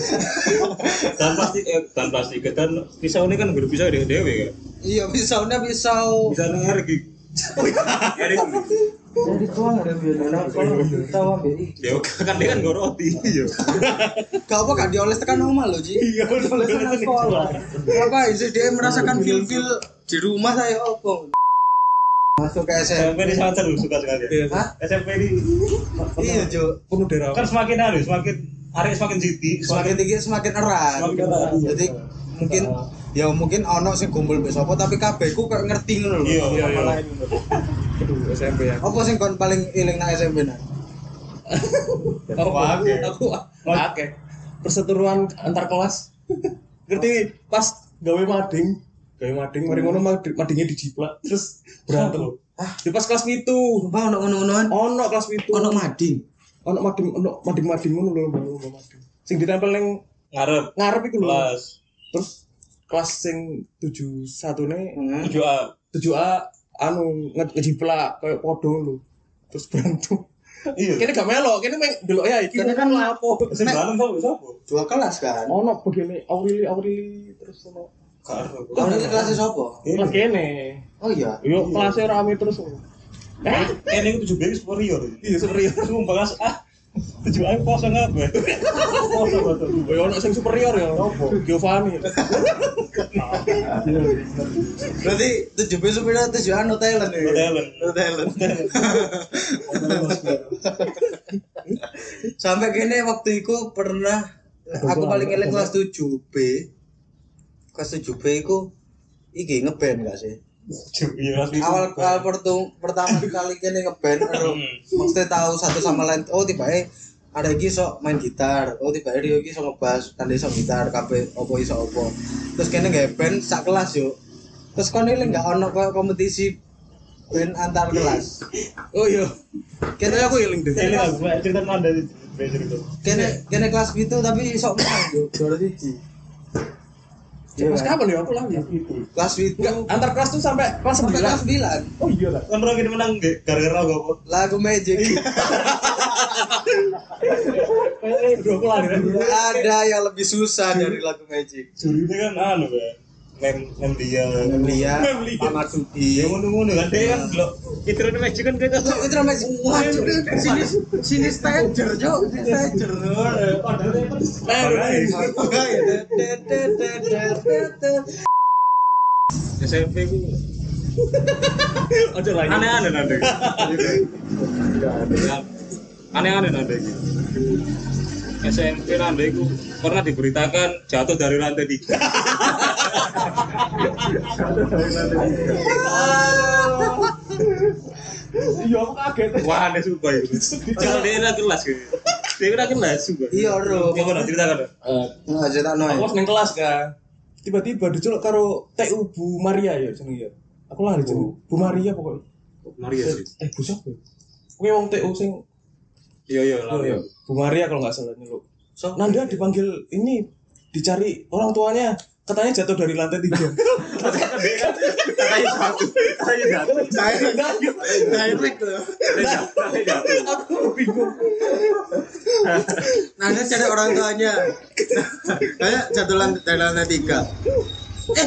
Speaker 4: Dan plastik, eh, dan plastik, dan pisau ini kan guru pisau dewe dewe kan.
Speaker 3: Iya pisaunya pisau.
Speaker 4: Bisa nengar gitu. Ini
Speaker 6: Jadi tuang ada biar nana kalau tahu ambil iki.
Speaker 4: dewe kan dia kan gak roti. Iya.
Speaker 3: Gak apa gak dioles tekan rumah lho Ji.
Speaker 5: Iya, udah boleh
Speaker 6: Kalau nang sekolah.
Speaker 3: Apa sih dia merasakan feel-feel di rumah saya opo. Masuk ke SMP.
Speaker 4: SMP di sana lu suka sekali.
Speaker 5: Iya.
Speaker 3: Hah?
Speaker 4: SMP di
Speaker 3: Iya Cuk.
Speaker 5: Penuh darah.
Speaker 4: kan semakin hari, semakin hari semakin
Speaker 3: Semakin
Speaker 4: jiti, semakin
Speaker 3: tinggi semakin erat.
Speaker 4: Semakin erat, iya.
Speaker 3: Jadi mungkin ya mungkin ono sing gumpul mbek sapa tapi kabeh ku kayak ngerti ngono lho.
Speaker 4: Iya, iya,
Speaker 3: Sama
Speaker 4: iya.
Speaker 3: lain ngono.
Speaker 5: Aduh, SMP ya.
Speaker 3: Apa sing kon paling eling nang SMP nah?
Speaker 5: Aku
Speaker 4: Oke.
Speaker 5: aku oke. Perseteruan antar kelas. Ngerti pas gawe mading, gawe mading mari ngono mad- madingnya dijiplak terus berantem. Di pas kelas itu
Speaker 3: Mbak ono ngono-ngonoan.
Speaker 5: ono kelas itu
Speaker 3: Ono mading.
Speaker 5: ono mading ono mading mading ngono lho lomba lomba mading. Sing ditempel ning
Speaker 4: ngarep
Speaker 5: ngarep iku lho.
Speaker 4: kelas
Speaker 5: Terus kelas sing 71 ne
Speaker 3: Heeh.
Speaker 4: 7A.
Speaker 5: 7A anu nge- ngejiplak kayak podo lho. Terus berantem.
Speaker 4: Iya.
Speaker 5: Kene gak melo, kene meng delok ya iki.
Speaker 6: Kene kan lapo.
Speaker 4: Sing dalam tau siapa?
Speaker 3: Dua kelas kan.
Speaker 5: ono begini Aureli Aureli terus ono
Speaker 4: Karo.
Speaker 3: Kau ini kelasnya sopo?
Speaker 5: kelas kene
Speaker 3: Oh iya.
Speaker 5: yo
Speaker 4: ya.
Speaker 5: kelasnya rame terus eh
Speaker 4: Kene iku 7B wis warrior.
Speaker 5: iya superior
Speaker 4: Sumpah kas ah. 7A kosong apa? Kosong betul.
Speaker 5: yo ono sing superior ya
Speaker 4: Apa?
Speaker 5: Giovanni Iya.
Speaker 3: Berarti tujuh besok pindah tujuh anu Thailand ya.
Speaker 4: No talent.
Speaker 3: No talent. Sampai kene waktu itu pernah aku paling eling kelas 7 B. Kelas 7 B iku iki ngeband gak sih?
Speaker 4: Iya, asli.
Speaker 3: awal awal pertu- pertama kali kene ngeband ero maksudnya tahu satu sama lain oh tiba eh ada iki sok main gitar oh tiba eh Rio iki sok ngebass tanda sok gitar kabeh opo iso opo terus kene nggak band sak kelas yo terus kon ini nggak ono kayak kompetisi band antar kelas
Speaker 5: oh iya
Speaker 3: kene aku iling deh
Speaker 4: Ini aku eh, cerita nang dari B cerita.
Speaker 3: kene kene kelas itu tapi sok menang yo juara siji Iya,
Speaker 5: pas
Speaker 3: kan?
Speaker 5: kapan ya aku lagi
Speaker 3: kelas itu
Speaker 5: enggak antar kelas tuh sampai kelas
Speaker 3: sampai kelas
Speaker 5: 9
Speaker 3: sembilan
Speaker 5: oh iya lah
Speaker 4: Kan orang kita menang Dek. gara-gara aku apa?
Speaker 3: lagu magic
Speaker 5: eh udah aku lari
Speaker 3: Nggak ada yang lebih susah dari lagu magic
Speaker 4: Juri ini kan anu ya. Mem mem dia.
Speaker 3: Melia,
Speaker 5: Melia.
Speaker 3: Pak Marsudi.
Speaker 4: Dia ngono-ngono kan dia kan delok pikirannya magic kan kayak
Speaker 3: Loh, itu namanya wah, sini sini stager, Cok. Sini stager. Makanya, det, det, det, det, det, det.
Speaker 4: SMP ku
Speaker 5: aja lagi
Speaker 4: aneh-aneh nanti. Aneh-aneh nanti. SMP nanti ku pernah diberitakan jatuh dari lantai tiga.
Speaker 5: iya aku kaget
Speaker 4: Wah aneh sumpah ya. itu. Jangan dia kena kelas gitu. Dia kena kelas sumpah.
Speaker 3: Iya, Ro.
Speaker 4: Mau nggak ceritakan?
Speaker 3: Nah, cerita
Speaker 5: aku
Speaker 3: noy.
Speaker 5: pas neng kelas kan tiba-tiba diceluk karo TU Bu Maria ya jenenge ya aku
Speaker 3: Oh.
Speaker 5: lari jenenge Bu Maria pokoknya
Speaker 4: Maria sih.
Speaker 5: eh Bu siapa ya Kuwi wong TU sing
Speaker 4: Iya iya
Speaker 5: Oh,
Speaker 4: lalu.
Speaker 5: iya. Bu Maria kalau nggak salah nyeluk.
Speaker 3: So,
Speaker 5: Nanda dipanggil ini dicari orang tuanya katanya jatuh dari lantai tiga.
Speaker 4: Katanya jatuh. Katanya jatuh.
Speaker 3: direct loh.
Speaker 4: Katanya jatuh.
Speaker 5: Aku bingung.
Speaker 3: Nah, dia cari orang tuanya. Kayak jatuh lantai dari lantai tiga. Eh.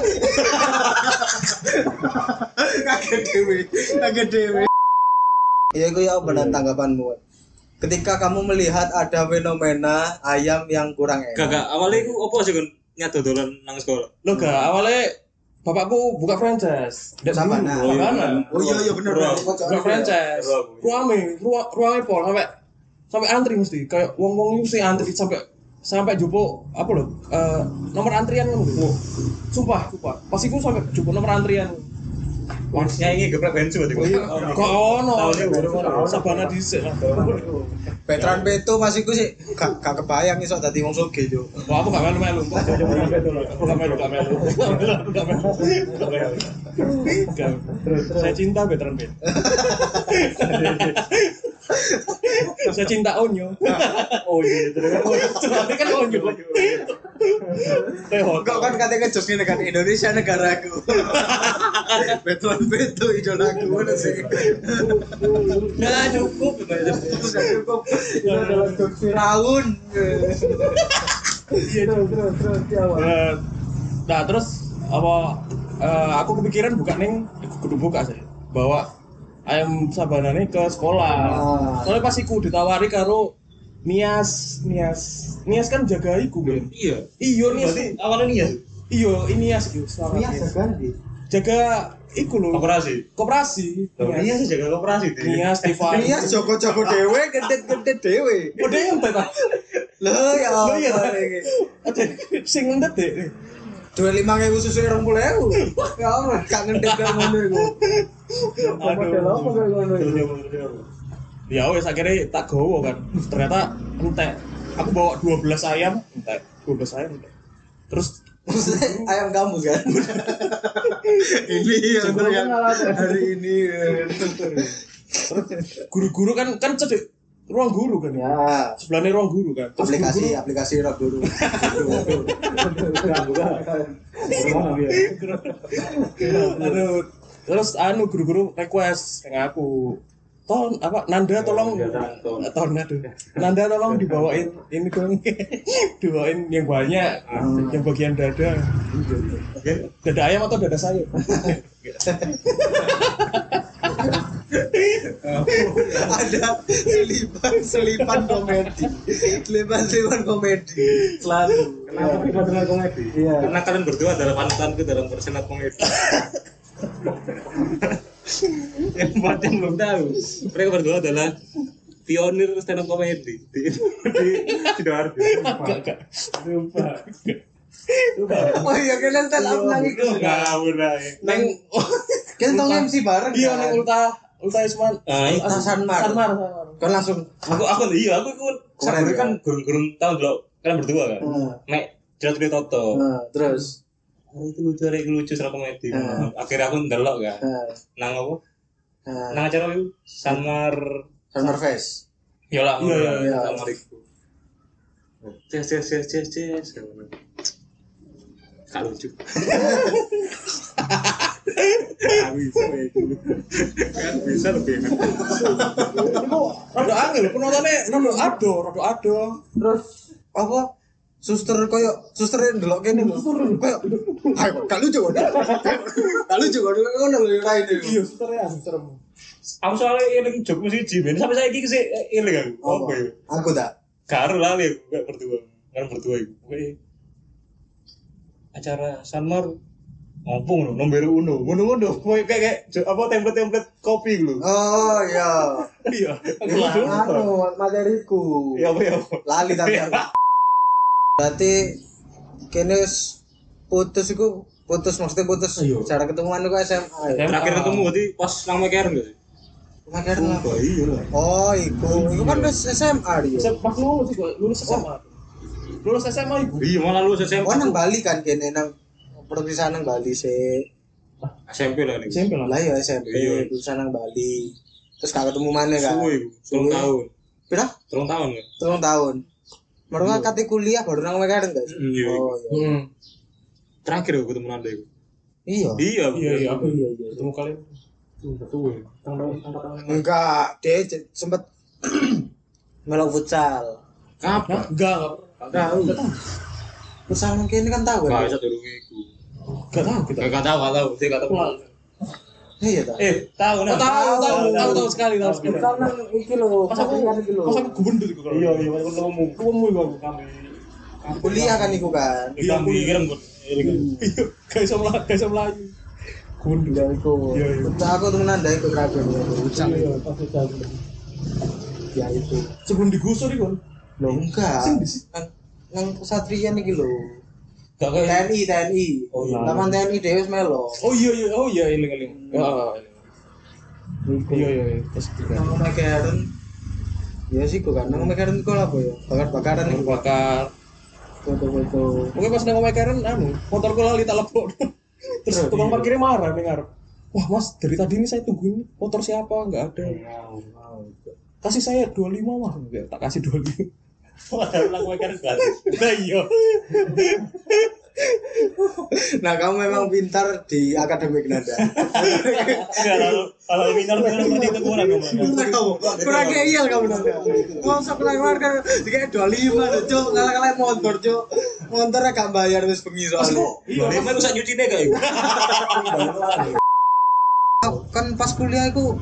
Speaker 3: Kaget dewe, kaget dewe. Ya, gue ya apa dan tanggapanmu? Ketika kamu melihat ada fenomena ayam yang kurang enak.
Speaker 4: Gak awalnya aku apa sih kan nyatu dolan nang sekolah.
Speaker 5: Loh gak awalnya bapakku buka franchise. Ndak
Speaker 3: Sabana.
Speaker 5: dulu, Sabana.
Speaker 3: Oh iya iya bener.
Speaker 4: Bro.
Speaker 3: Bro.
Speaker 5: Buka franchise.
Speaker 4: Iya, aku.
Speaker 5: Ruame, ruang ruangnya pol sampai sampai antri mesti kayak wong-wong itu sih antri sampai sampai jupuk apa loh eh, nomor antrian kan gitu. Sumpah, sumpah. Pas iku sampai jupuk nomor antrian.
Speaker 4: Wansnya ini geprek bensu berarti.
Speaker 5: Kok ono?
Speaker 4: Tahunnya baru ono.
Speaker 5: Sabana dhisik lah.
Speaker 3: Veteran Beto masih gue sih gak gak kebayang iso dadi wong sugih yo.
Speaker 5: Wah, aku gak melu-melu. Gak melu, gak melu. Gak melu, gak melu. Gak melu. Gak. Saya cinta veteran band. Saya cinta Onyo.
Speaker 6: Oh iya, terus.
Speaker 5: Soalnya kan Onyo. Teh
Speaker 3: Kok kan katanya ngejokes ngene kan Indonesia negaraku. Veteran Beto idolaku ngono sih.
Speaker 5: Nah,
Speaker 3: Ya,
Speaker 5: cukup.
Speaker 3: Udah cukup. Ya, Itu adalah jokes Firaun.
Speaker 5: Iya, cukup.
Speaker 6: Terus, terus, ya, Pak.
Speaker 5: Eh, Nah, terus apa eh, aku kepikiran buka neng aku kudu buka sih. Bawa ayam sabana nih ke sekolah.
Speaker 3: Ah.
Speaker 5: Soalnya pas iku ditawari karo Nias, Nias, Nias kan jaga iku Ben.
Speaker 4: Iya.
Speaker 5: Iya Nias,
Speaker 4: Berarti awalnya nih ya.
Speaker 5: iya ini Nias iku.
Speaker 6: Iya,
Speaker 5: selamat,
Speaker 3: ya,
Speaker 5: Nias.
Speaker 6: segar sih.
Speaker 5: Jaga iku loh.
Speaker 4: Koperasi.
Speaker 5: Koperasi.
Speaker 4: Loh, Iya sih jaga koperasi. Dik.
Speaker 5: Nias, Stefan.
Speaker 3: Iya joko-joko dhewe gendet-gendet dhewe.
Speaker 5: Udah yang teta.
Speaker 3: Loh ya.
Speaker 5: Loh,
Speaker 3: Allah
Speaker 5: iya.
Speaker 3: iki.
Speaker 5: Ada sing ngendet deh.
Speaker 3: Dua lima ribu susu rong puluh ribu. Ya Allah, gak ngendek gak ngono iku.
Speaker 6: Model apa kayak ngono
Speaker 4: Terus
Speaker 6: itu?
Speaker 4: dia mau- terus dia mau.
Speaker 5: Ya wes akhirnya tak gowo kan. Ternyata entek. Aku bawa 12 ayam entek. 12 ayam entek. Terus
Speaker 3: Maksudnya ayam kampus kan? ini iya. yang
Speaker 6: Sebelum pengalaman.
Speaker 3: hari ini. eh,
Speaker 5: guru-guru kan kan cedek ruang guru kan ya.
Speaker 3: ya,
Speaker 5: Sebelahnya ruang guru kan. Terus
Speaker 3: aplikasi aplikasi rock dulu.
Speaker 5: guru-guru- Aduh. Terus anu guru-guru request yang aku Ton, apa Nanda tolong
Speaker 4: Ya, ya, Ton.
Speaker 5: Eh, Ton aduh. Nanda tolong dibawain ini dong. dibawain yang banyak, yang bagian dada.
Speaker 4: Oke.
Speaker 5: Dada ayam atau dada sayur?
Speaker 3: Ada selipan selipan komedi, selipan selipan komedi selalu.
Speaker 6: Kenapa tiba komedi? Iya.
Speaker 4: Karena kalian berdua adalah panutanku dalam persenat komedi. yang buat yang belum tahu, mereka berdua adalah pionir stand up comedy di di sidoarjo.
Speaker 5: Enggak, enggak.
Speaker 3: Oh iya kalian stand up nang iku.
Speaker 4: Nah, udah. ya.
Speaker 5: Neng
Speaker 3: Kita tong MC bareng.
Speaker 5: Iya
Speaker 3: kan?
Speaker 5: neng Ulta Ulta Isman.
Speaker 4: Nah, itu.
Speaker 5: Ah,
Speaker 3: Sanmar.
Speaker 5: Sanmar.
Speaker 3: Kan langsung.
Speaker 4: aku aku iya aku aku
Speaker 3: Keren,
Speaker 4: Sabri
Speaker 3: ya?
Speaker 4: kan gurung-gurung tahu dulu kalian berdua kan.
Speaker 3: Hmm.
Speaker 4: Mek jelas dia toto.
Speaker 3: Nah, terus.
Speaker 4: Hari itu lucu, hari itu lucu stand up comedy.
Speaker 3: Hmm.
Speaker 4: Akhirnya aku ndelok kan.
Speaker 3: Nah,
Speaker 4: Nang apa?
Speaker 3: nah,
Speaker 4: Nang acara itu Sanmar
Speaker 3: Summer Face.
Speaker 4: Ya lah,
Speaker 5: Iya,
Speaker 4: iya,
Speaker 3: iya.
Speaker 4: iya, sama Riku. Ces, ces, ces, ces, ces. Gak lucu. Gak bisa, ya. Gak bisa lebih enak.
Speaker 5: Rada angel penontonnya rada ado, rada ado.
Speaker 6: Terus
Speaker 3: apa suster koyo suster yang delok kene lho koyo ayo gak lucu kan gak lucu kan ngono lho ra ini
Speaker 5: Iya, suster ya, suster.
Speaker 4: Aku soalnya ini jokmu sih Jimin, sampai saya ini sih ini kan. Apa ya?
Speaker 3: aku tak
Speaker 4: Gak ada lali aku, gak berdua. Kan berdua itu. Pokoknya acara Sanmar ngomong loh, nomor uno, uno uno, kayak kayak jo- apa template template kopi gitu.
Speaker 3: oh iya
Speaker 5: Iya. aku
Speaker 3: Iya,
Speaker 5: langsung.
Speaker 3: anu materiku
Speaker 4: Ya apa ya apa.
Speaker 3: lali tapi aku. berarti kene wis putus iku putus maksudnya putus
Speaker 5: Iya.
Speaker 3: cara ketemuan iku SMA ya
Speaker 4: Yang terakhir ketemu berarti pas nang McCarran gak sih?
Speaker 3: Akhirnya.
Speaker 4: iya lah.
Speaker 3: oh iku iku kan wis SMA dia
Speaker 5: Pas lulus gua, lulus SMA. Lulus SMA ibu.
Speaker 4: Iya malah lu SMP.
Speaker 3: oh nang Bali kan kene nang perpisahan nang Bali sih
Speaker 4: SMP lah ini.
Speaker 5: SMP lah.
Speaker 3: lah ya SMP
Speaker 4: Iya.
Speaker 3: lulusan nang Bali terus gak ketemu mana kan
Speaker 4: Suwe iku, telung
Speaker 3: Suwe.
Speaker 4: tahun.
Speaker 3: pira
Speaker 4: Telung tahun kan.
Speaker 3: telung tahun mereka kate kuliah baru nang Mekareng gak sih?
Speaker 4: Iya.
Speaker 3: oh iya
Speaker 5: Hmm.
Speaker 4: Terakhir aku ketemu Nanda iku.
Speaker 3: iya
Speaker 4: Iya.
Speaker 5: Iya, iya, aku
Speaker 3: Iya, iya.
Speaker 5: ketemu kalian.
Speaker 4: Suwe.
Speaker 3: enggak dia j- sempet melok futsal
Speaker 5: Hah?
Speaker 4: Kapan?
Speaker 5: Enggak, enggak.
Speaker 3: tahu futsal mungkin kan tahu
Speaker 4: Enggak
Speaker 3: kan
Speaker 4: bisa dulu iku.
Speaker 5: Enggak tahu kita.
Speaker 4: Enggak tahu, enggak tahu. Dia enggak tahu.
Speaker 3: iya tahu
Speaker 4: Eh, tahu nah.
Speaker 5: Oh, tahu, tahu, tahu, tahu sekali, tahu sekali.
Speaker 6: kita nang iki lho,
Speaker 5: Pas aku,
Speaker 6: postingan iki lho.
Speaker 5: pas aku gubernur iku kalau.
Speaker 4: Iya, iya, pas ketemu.
Speaker 5: Kamu iku aku.
Speaker 3: kuliah kan iku kan
Speaker 4: Iya, aku kirim kok.
Speaker 5: Iya, gak bisa melayu, gak bisa melayu.
Speaker 6: Iya, iku.
Speaker 5: Iya, iya.
Speaker 3: futsal aku tuh nanda ikut ragu futsal
Speaker 6: Iya, pas kita aku. Ya itu.
Speaker 5: Sebelum digusur iku.
Speaker 3: Loh, enggak
Speaker 5: Sing di situ.
Speaker 3: Kan nang kesatrian iki lho.
Speaker 5: Gak kayak
Speaker 3: TNI TNI.
Speaker 5: Oh, iya.
Speaker 3: Taman TNI dhewe wis melo.
Speaker 5: Oh iya iya oh iya eling eling. Ya, Iya iya iya. Terus juga.
Speaker 3: Nang omah keren. Ya sih kok kan nang omah keren kok apa ya? Bakar-bakaran
Speaker 5: Nang
Speaker 3: iku
Speaker 5: bakar.
Speaker 3: foto-foto.
Speaker 5: Mungkin pas nang omah Karen anu, motorku lali tak lepuk. Terus iya. tukang parkirnya marah nih ngarep. Wah mas, dari tadi ini saya tungguin motor siapa, nggak ada. Kasih saya 25 mah, Nggak, tak kasih 25. Padahal nang omah Karen gratis. Nah iya.
Speaker 3: Nah, kamu memang pintar di akademik nada.
Speaker 5: Kalau minor minor seperti itu kurang
Speaker 3: Pintar kamu. Kurang ngeyel kamu nada. Wong sok nang warga dikek 25 lho, Cuk. Kalah-kalah motor, Cuk. Motornya gak bayar wis bengi soalnya.
Speaker 4: Iya, emang rusak nyuci deh kayak.
Speaker 3: Kan pas kuliah iku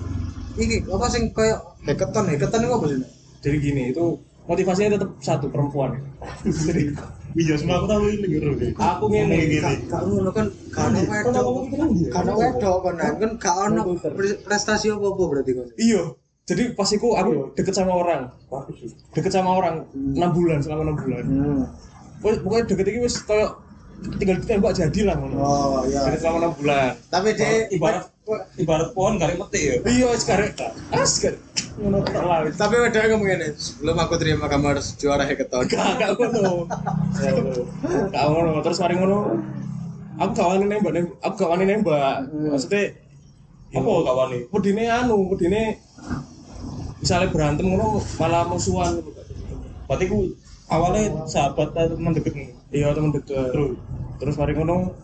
Speaker 3: iki apa sing koyo hackathon, hackathon iku apa sih? Nak?
Speaker 5: Jadi gini itu motivasinya tetap satu perempuan. Jadi
Speaker 7: Iya, semua aku tahu ini gitu.
Speaker 5: aku ngene
Speaker 7: Gini.
Speaker 3: Gak ngono kan gak ono wedok. Gak ono wedok kon Nak. kan gak ono pre- prestasi apa-apa berarti kon.
Speaker 5: Iya. Jadi pas itu aku deket sama orang. Deket sama orang 6 bulan selama 6 bulan.
Speaker 3: Hmm.
Speaker 5: Wes pokoknya deket iki wis kayak tinggal ditembak jadi lah ngono.
Speaker 3: Oh,
Speaker 5: Deket
Speaker 3: iya.
Speaker 5: selama 6 bulan.
Speaker 3: Tapi dia
Speaker 4: Ibarat ibarat pohon kali petik ya.
Speaker 5: Iya wis karek. As karek. Ngono tok lah wis.
Speaker 3: tapi wedoknya ngomong ini sebelum aku terima kamu harus juara hackathon
Speaker 5: Gak gak ngono. Gak ngono terus mari ngono. Aku gak wani nembak, nembak- aku gak wani nembak. Maksudnya
Speaker 4: Apa kawan nih?
Speaker 5: wedine anu, wedine misalnya berantem ngono malah musuhan gitu.
Speaker 4: Berarti ku awalnya sahabat atau teman deket nih.
Speaker 5: Iya temen deket.
Speaker 4: Terus?
Speaker 5: terus mari ngono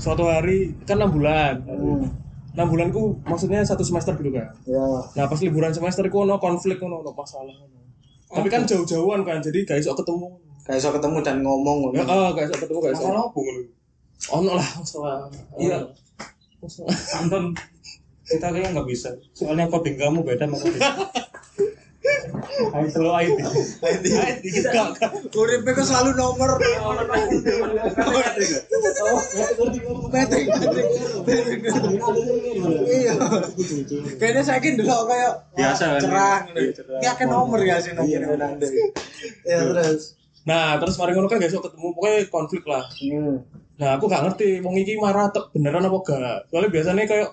Speaker 5: suatu hari kan enam bulan.
Speaker 3: Hmm.
Speaker 5: Enam bulan ku maksudnya satu semester gitu kan.
Speaker 3: ya
Speaker 5: Nah pas liburan semester ku ono konflik ono ono masalah ono. Tapi kan jauh-jauhan kan jadi gak iso ketemu.
Speaker 3: gak bisa ketemu dan ngomong
Speaker 5: Ya oh, gak iso ketemu gak iso.
Speaker 4: Masalah apa ngono?
Speaker 5: Ono lah masalah.
Speaker 4: Iya.
Speaker 5: Masalah.
Speaker 4: Anton kita kayaknya nggak bisa soalnya coding kamu beda sama coding IT lo IT
Speaker 5: Ay, gak- gak.
Speaker 3: uripnya kok selalu nomor Iya. Petrik Petrik Petrik. iya kayaknya saya yakin dulu kayak
Speaker 4: Biasa kan?
Speaker 3: cerah
Speaker 4: Iya, cerah.
Speaker 3: ini akan nomor gak sih nomor ya terus
Speaker 5: Nah terus mari ngono kan gak iso ketemu pokoknya konflik lah. Nah aku gak ngerti wong iki marah tek beneran apa gak. Soalnya biasanya kayak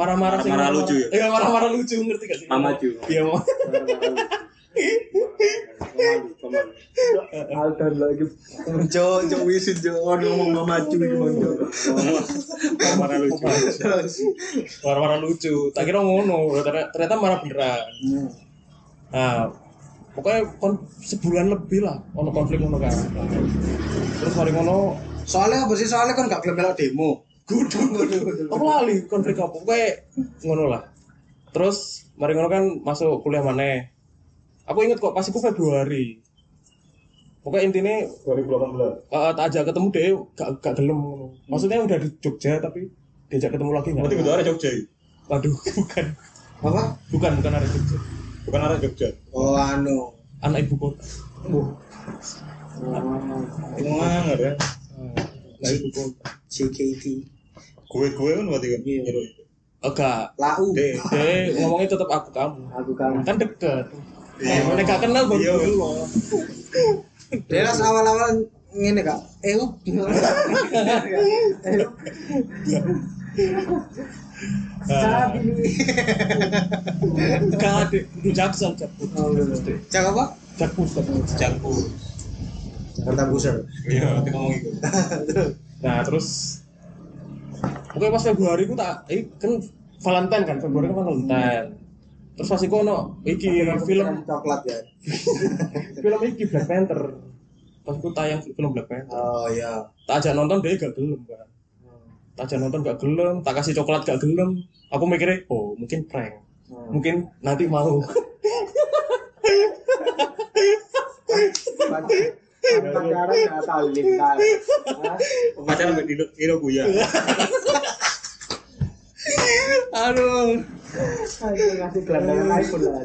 Speaker 5: marah-marah sing-
Speaker 4: Marah-marah lucu ya?
Speaker 5: Iya marah-marah lucu ngerti gak sih?
Speaker 4: Mama cu
Speaker 5: Iya mau.
Speaker 6: Aldan lagi
Speaker 3: Jo Jo wisin Jo
Speaker 6: ngomong mama cu itu bang Jo.
Speaker 4: marah lucu
Speaker 3: terus
Speaker 5: marah-marah lucu tak kira ngono ternyata, ternyata marah beneran nah pokoknya kon- sebulan lebih lah ono konflik ngono kan terus mari ngono
Speaker 3: soalnya apa sih soalnya kan gak gelem melok demo
Speaker 5: gudu aku lali konflik apa pokoknya ngono lah terus mari ngono kan masuk kuliah mana aku inget kok pas aku Februari pokoknya intinya
Speaker 7: 2018.
Speaker 5: eh, tak ajak ketemu deh gak, gak gelem ngono. maksudnya udah di Jogja tapi diajak ketemu lagi
Speaker 4: berarti
Speaker 5: nggak
Speaker 4: itu arah Jogja ya?
Speaker 5: waduh bukan
Speaker 3: apa
Speaker 5: bukan bukan ada Jogja
Speaker 4: bukan arah Jogja
Speaker 3: oh anu
Speaker 5: anak ibu kota
Speaker 4: emang ya
Speaker 5: Nah, itu kok.
Speaker 3: CKT
Speaker 4: gue gue kan berarti kan Eh, iya.
Speaker 3: Iya.
Speaker 4: Gitu.
Speaker 5: Enggak.
Speaker 3: lau
Speaker 4: Deh.
Speaker 5: Deh, Eh, ngomongnya tetap aku kamu.
Speaker 3: aku kamu
Speaker 5: Kan deket. Eh, Mereka gak kenal baru
Speaker 4: Iya.
Speaker 5: dulu.
Speaker 3: Deras awal-awal ngene kak, Eh, oh, eup. Eup. Sabi.
Speaker 5: Enggak ada. Itu jaksel, jakpus.
Speaker 3: Cak apa?
Speaker 5: Jakpus, jakpus.
Speaker 4: Jakku
Speaker 3: Jakarta Pusat.
Speaker 4: iya nanti ngomong itu
Speaker 5: Nah, terus. Oke, pas Februari ku tak, eh, kan Valentine kan, Februari kan Valentine. Terus pas iku ono iki film
Speaker 3: coklat ya.
Speaker 5: film iki Black Panther. Pas iku tayang film Black Panther.
Speaker 3: Oh iya.
Speaker 5: tak ajak nonton dia gak gelem kan tak ajak nonton gak gelem tak kasih coklat gak gelem aku mikirnya oh mungkin prank mungkin nanti mau
Speaker 6: Pacaran nggak tahu lintas.
Speaker 4: pacaran sama Dino Dino Guya
Speaker 5: Iya. aduh
Speaker 6: Aduh, ngasih gelandangan iPhone lah.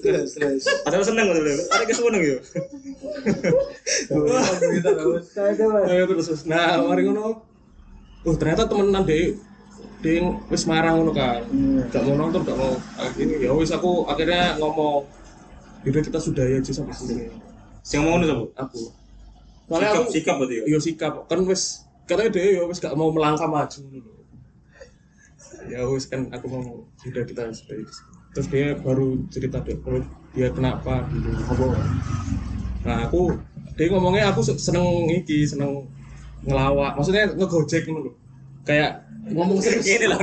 Speaker 3: Terus terus.
Speaker 4: padahal seneng gitu loh ada keseneng gitu
Speaker 6: Saya coba.
Speaker 5: ayo Oh, terus terus. nah mari ngono oh ternyata temenan dia dia wis marah ngono kan gak mau Ah, nonton gak mau akhirnya ya wis aku akhirnya ngomong yaudah kita sudahi aja sampai sini
Speaker 4: Sing mau ngono sapa?
Speaker 5: aku soalnya
Speaker 4: Sikap
Speaker 5: aku
Speaker 4: sikap berarti ya.
Speaker 5: yo sikap kan wes katanya dia yo wes gak mau melangkah maju dulu ya wes kan aku mau sudah ya. kita harus dari di sini. terus dia baru cerita dia kalau dia kenapa gitu apa nah aku dia ngomongnya aku se- seneng iki seneng ngelawak maksudnya ngegojek dulu loh kayak ngomong serius
Speaker 4: Ini lah.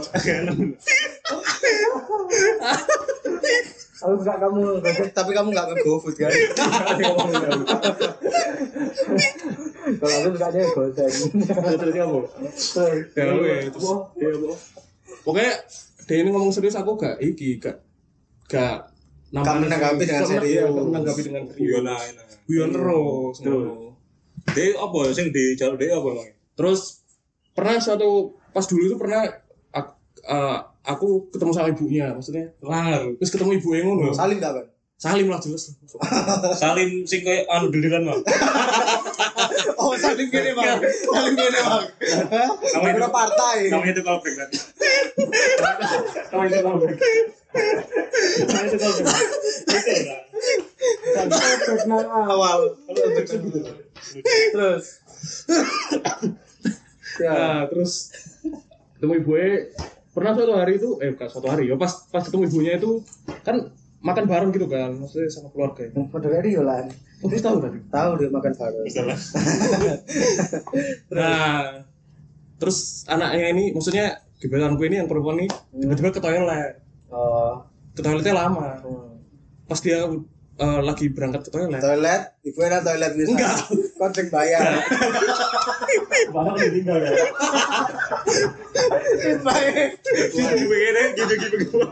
Speaker 5: Yo, enak.
Speaker 3: Kalau enggak kamu ngegojek, Oh, tapi kamu enggak ngegofood kan? Kalau aku sukanya gojek.
Speaker 7: Terus apa?
Speaker 5: ya weh, terus
Speaker 7: Iya, Bu.
Speaker 5: pokoknya dia ini ngomong serius aku gak iki gak gak namanya-
Speaker 3: menanggapi dengan
Speaker 5: gak menang-
Speaker 3: serius.
Speaker 5: iya, gak menanggapi dengan
Speaker 4: Iya
Speaker 5: serius
Speaker 4: lah. enak.
Speaker 5: guyon terus
Speaker 4: Terus.
Speaker 5: ngono.
Speaker 4: Dia apa sing di jalur dia apa emang?
Speaker 5: terus pernah suatu pas dulu itu pernah aku, eh, aku ketemu sama ibunya maksudnya
Speaker 4: Lar.
Speaker 5: terus ketemu ibu yang ngono
Speaker 3: Salim enggak kan?
Speaker 5: salim lah jelas
Speaker 4: Salim sing koyo anu diliran mah.
Speaker 3: Oh, salim gini, Bang. Salim gini, Bang.
Speaker 4: Namanya-
Speaker 3: Namanya partai.
Speaker 5: Iya.
Speaker 4: Namanya itu kalau kan.
Speaker 3: Terus nang awal.
Speaker 5: gitu.
Speaker 3: Terus. Ya.
Speaker 5: Nah, terus ketemu ibunya pernah suatu hari itu eh bukan suatu hari ya pas pas ketemu ibunya itu kan makan bareng gitu kan maksudnya sama keluarga ya.
Speaker 3: Pada dari Yolan.
Speaker 5: Oh, terus tahu tadi
Speaker 3: Tahu dia makan bareng.
Speaker 5: Nah, terus anaknya ini, maksudnya gebetanku ini yang perempuan ini tiba-tiba ke toilet.
Speaker 3: Oh.
Speaker 5: Ke toiletnya lama. Pas dia eh, lagi berangkat ke toilet.
Speaker 3: Toilet, ibu enak toilet nih.
Speaker 5: Enggak.
Speaker 3: Konting bayar.
Speaker 7: Mana kan ditinggal ya?
Speaker 3: Baik.
Speaker 5: Nah,
Speaker 4: Begini gitu-gitu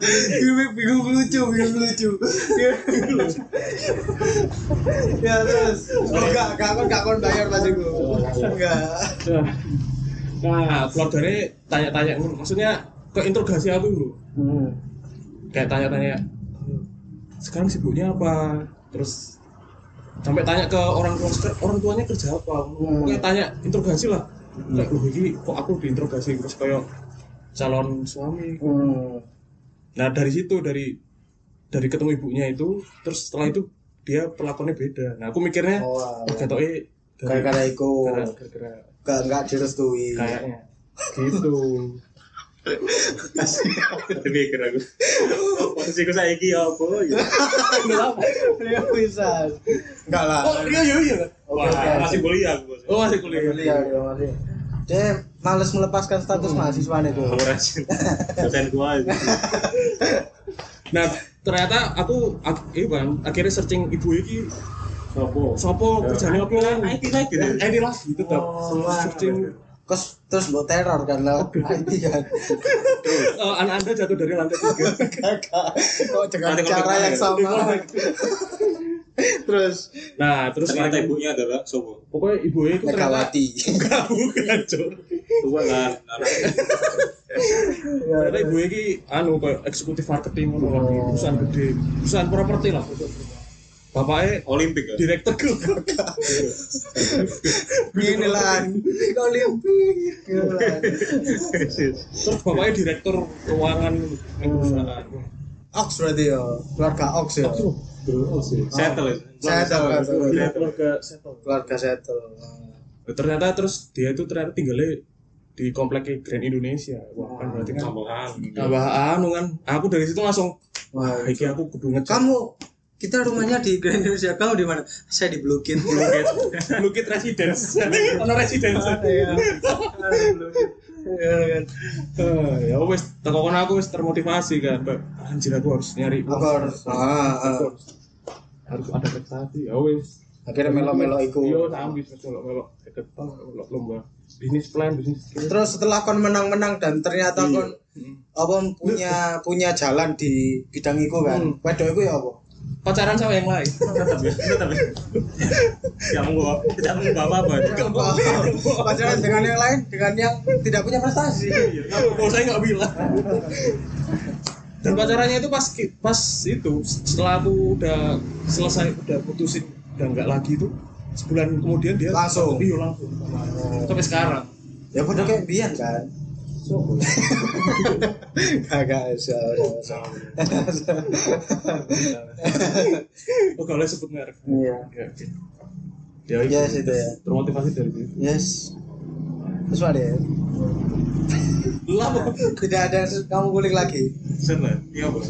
Speaker 3: Bingung bingung lucu, bingung lucu. Bingung lucu. Ya terus. Oh, Enggak, enggak kon enggak kon bayar bajuku. Enggak.
Speaker 5: Nah, keluarganya tanya-tanya, dulu. maksudnya ke interogasi aku dulu. Kayak tanya-tanya, sekarang sibuknya apa? Terus sampai tanya ke orang tua "Sekarang orang tuanya kerja apa? Kayak tanya interogasi lah. Kayak, "Loh, ini kok aku diinterogasi terus kayak calon suami Nah dari situ dari dari ketemu ibunya itu, terus setelah itu dia perlakuannya beda. Nah aku mikirnya,
Speaker 3: Oh, alah.
Speaker 5: oh, katoknya dari-
Speaker 3: Gara-gara iku.
Speaker 5: gara- oh, gara-gara iya.
Speaker 3: Enggak enggak direstui.
Speaker 5: kayaknya gitu.
Speaker 4: Demi kira aku. Posisi ku saiki ya apa ya?
Speaker 3: Dia Iya, bisa. Enggak lah.
Speaker 5: Oh iya iya iya.
Speaker 3: Oke, oke.
Speaker 4: Wah, masih kuliah aku. Bos.
Speaker 5: Oh masih kuliah.
Speaker 3: Iya, iya, masih. Dia males melepaskan status mahasiswa nih tuh.
Speaker 4: Aku rajin. Dosen gua.
Speaker 5: Nah ternyata aku, aku iya kan, akhirnya searching ibu ini
Speaker 7: Sopo?
Speaker 5: sopo kerjanya apa
Speaker 4: IT lagi deh.
Speaker 5: Eh ini lagi tetap
Speaker 3: Oh,
Speaker 5: searching
Speaker 3: Terus terus buat teror kan lah. IT kan.
Speaker 5: eh, anak anda jatuh dari lantai tiga.
Speaker 3: Kakak. Kok dengan
Speaker 4: Nanti kalau
Speaker 3: cara
Speaker 4: kena
Speaker 3: yang
Speaker 4: ya.
Speaker 3: sama. Terus
Speaker 5: Nah terus
Speaker 4: Ternyata
Speaker 5: mereka-
Speaker 4: ibunya adalah sobo.
Speaker 5: pokoknya ibu itu ternyata
Speaker 3: Megawati.
Speaker 5: bukan Cuk.
Speaker 4: Tua kan. anak.
Speaker 5: Ternyata ibu ini anu kayak eksekutif marketing ngono lah, di perusahaan gede, perusahaan properti lah. Bapaknya
Speaker 4: Olimpik ya.
Speaker 5: direktur Google.
Speaker 3: Gini lah. Olimpik. Gini lah.
Speaker 5: Terus bapaknya direktur keuangan yang perusahaan.
Speaker 3: Ox berarti ya. Keluarga Ox ya.
Speaker 7: Terus sih.
Speaker 4: Settle. ya.
Speaker 3: Settle kan.
Speaker 5: Keluarga
Speaker 3: Keluarga settle.
Speaker 5: Ternyata terus dia itu ternyata tinggalnya di komplek Grand Indonesia. Wah, kan berarti kan
Speaker 4: Tambahan.
Speaker 5: tambah anu kan. Aku dari situ langsung
Speaker 3: Wah,
Speaker 5: wah, iki aku kudu ngejar.
Speaker 3: Kamu kita rumahnya di Grand Indonesia. Kamu di mana? Saya di Blukit. Blukit. Kan
Speaker 5: Lukit residence. Ono residence. Eh, ya wes tekokan aku wes termotivasi kan Kayak, anjir aku harus nyari
Speaker 3: Aku harus. Ah, ah.
Speaker 5: harus ada prestasi ya Iya, wes
Speaker 3: Akhirnya melo-melo iku.
Speaker 5: yo sambil wes melok melok keketan melok lomba bisnis plan bisnis plan Iya. Hmm.
Speaker 3: Terus setelah kon menang-menang dan ternyata
Speaker 5: Hmm.
Speaker 3: kon apa punya punya jalan di bidang iku kan. Wedok iku ya apa?
Speaker 5: pacaran sama yang lain
Speaker 4: tetap ya tetap ya tidak mengubah tidak mengubah apa apa
Speaker 3: pacaran dengan yang lain dengan yang tidak punya prestasi
Speaker 5: Iya, kalau saya nggak bilang dan pacarannya itu pas ki- pas itu setelah aku udah selesai udah putusin udah nggak lagi itu sebulan kemudian dia
Speaker 3: Langsung.
Speaker 5: iya langsung sampai sekarang
Speaker 3: ya bodoh kayak Bian kan kagak salah, salah, salah.
Speaker 5: oh kalau sebut merek
Speaker 3: iya
Speaker 5: ya, oke.
Speaker 3: yes itu ya
Speaker 7: termotivasi dari situ
Speaker 3: yes terus apa deh
Speaker 5: lama
Speaker 3: tidak ada yang kamu guling lagi
Speaker 4: seneng iya bos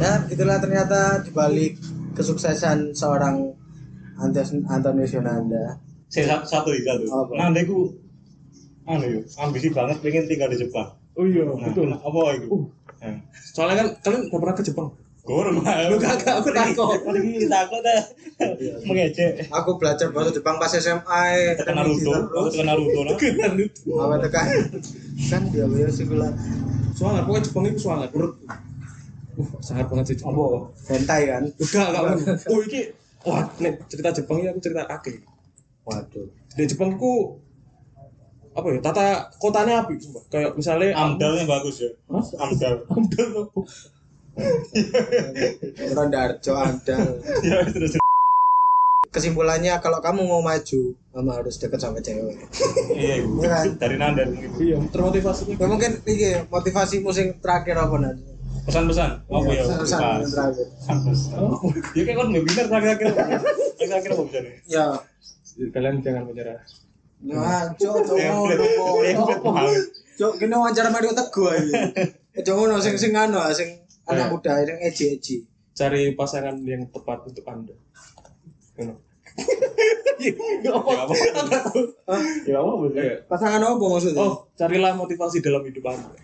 Speaker 3: ya itulah ternyata dibalik kesuksesan seorang Antas Antonius Yonanda
Speaker 4: saya satu tiga tuh
Speaker 3: Apa?
Speaker 4: nah deku anu yuk ambisi banget pengen tinggal di Jepang
Speaker 7: oh iya
Speaker 4: Nah,
Speaker 7: betul
Speaker 4: apa itu Nah,
Speaker 5: soalnya kan kalian udah pernah ke Jepang
Speaker 4: Gor mah.
Speaker 5: Lu kagak, aku takut.
Speaker 4: Lagi takut dah. Mengejek.
Speaker 3: aku belajar bahasa Jepang pas SMA eh,
Speaker 4: Tekan Naruto, aku
Speaker 3: terus
Speaker 4: tekan Naruto nah. lah.
Speaker 5: Keren itu
Speaker 3: apa tekan kan dia bayar sikulah
Speaker 5: suangar pokoknya Jepang itu suangar menurutku uh sangat banget sih Jepang
Speaker 3: hentai kan
Speaker 5: enggak enggak enggak. oh ini wah nek cerita Jepang ya aku cerita kake
Speaker 3: waduh
Speaker 5: di Jepang ku apa ya tata kotanya api sumpah. kayak misalnya
Speaker 4: Amdalnya bagus ya. Amdal.
Speaker 5: Amdal apa?
Speaker 3: Ronda Arjo Andal
Speaker 4: Ya terus.
Speaker 3: Iya, kesimpulannya kalau kamu mau maju kamu harus deket sama cewek
Speaker 4: Iya,
Speaker 3: Iya kan?
Speaker 4: dari Nanda gitu.
Speaker 5: iya termotivasi
Speaker 3: ya mungkin ini motivasi musim terakhir apa nanti
Speaker 4: Pesan-pesan.
Speaker 5: Oh,
Speaker 4: Apa
Speaker 5: iya,
Speaker 4: ya?
Speaker 3: Pesan-pesan
Speaker 4: Pas.
Speaker 3: terakhir
Speaker 4: Pesan-pesan. Ya kayak kan webinar terakhir-akhir. Terakhir-akhir apa bisa nih?
Speaker 3: ya
Speaker 5: kalian jangan menyerah
Speaker 3: Nah, cok, cok,
Speaker 4: Template.
Speaker 3: cok,
Speaker 4: Template banget.
Speaker 3: Cok, kene wawancara Mario Teguh aja. Aja ngono sing sing anu ah, sing
Speaker 5: Eh.
Speaker 3: anak muda sing eji-eji.
Speaker 5: cari pasangan yang tepat untuk anda Ngono.
Speaker 4: Ya apa?
Speaker 7: ya apa bos
Speaker 5: Iya.
Speaker 3: Pasangan apa maksudnya?
Speaker 5: oh carilah motivasi dalam hidup anda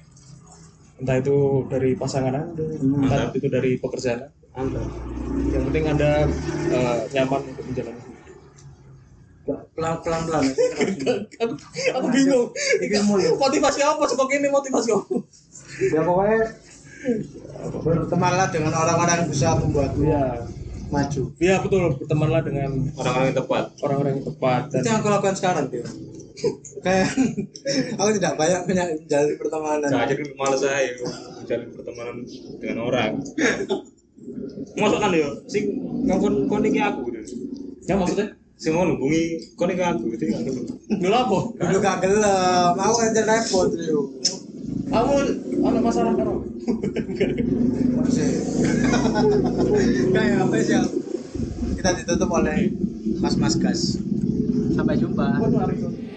Speaker 5: entah itu dari pasangan anda entah itu dari pekerjaan Hmm. anda yang penting anda eh, nyaman untuk menjalani hidup
Speaker 3: pelan-pelan pelan.
Speaker 5: aku, aku bingung
Speaker 3: Iki mulu.
Speaker 5: motivasi apa sebagai ini motivasi apa
Speaker 3: Ya pokoknya bertemanlah dengan orang-orang yang bisa membuatmu
Speaker 5: iya
Speaker 3: maju.
Speaker 5: iya betul bertemanlah dengan
Speaker 4: Orang-orang yang tepat.
Speaker 5: orang-orang yang tepat dan
Speaker 3: Itu yang aku lakukan sekarang, Tio. Kayak aku tidak banyak banyak menjalin pertemanan.
Speaker 4: Saya aja dulu males saya menjalin pertemanan dengan orang. Masuk kan yo, sing ngomong kon iki aku gitu.
Speaker 5: ya maksudnya
Speaker 4: Sing mau hubungi kon iki aku gitu.
Speaker 5: dulu apa
Speaker 3: Dulu gak gelem, aku aja repot, Tio.
Speaker 5: kamu ada masalah kan Om?
Speaker 3: Masih. Kayak apa sih? Kita ditutup oleh Mas Mas Gas. Sampai jumpa.
Speaker 5: Waduh, hari ini.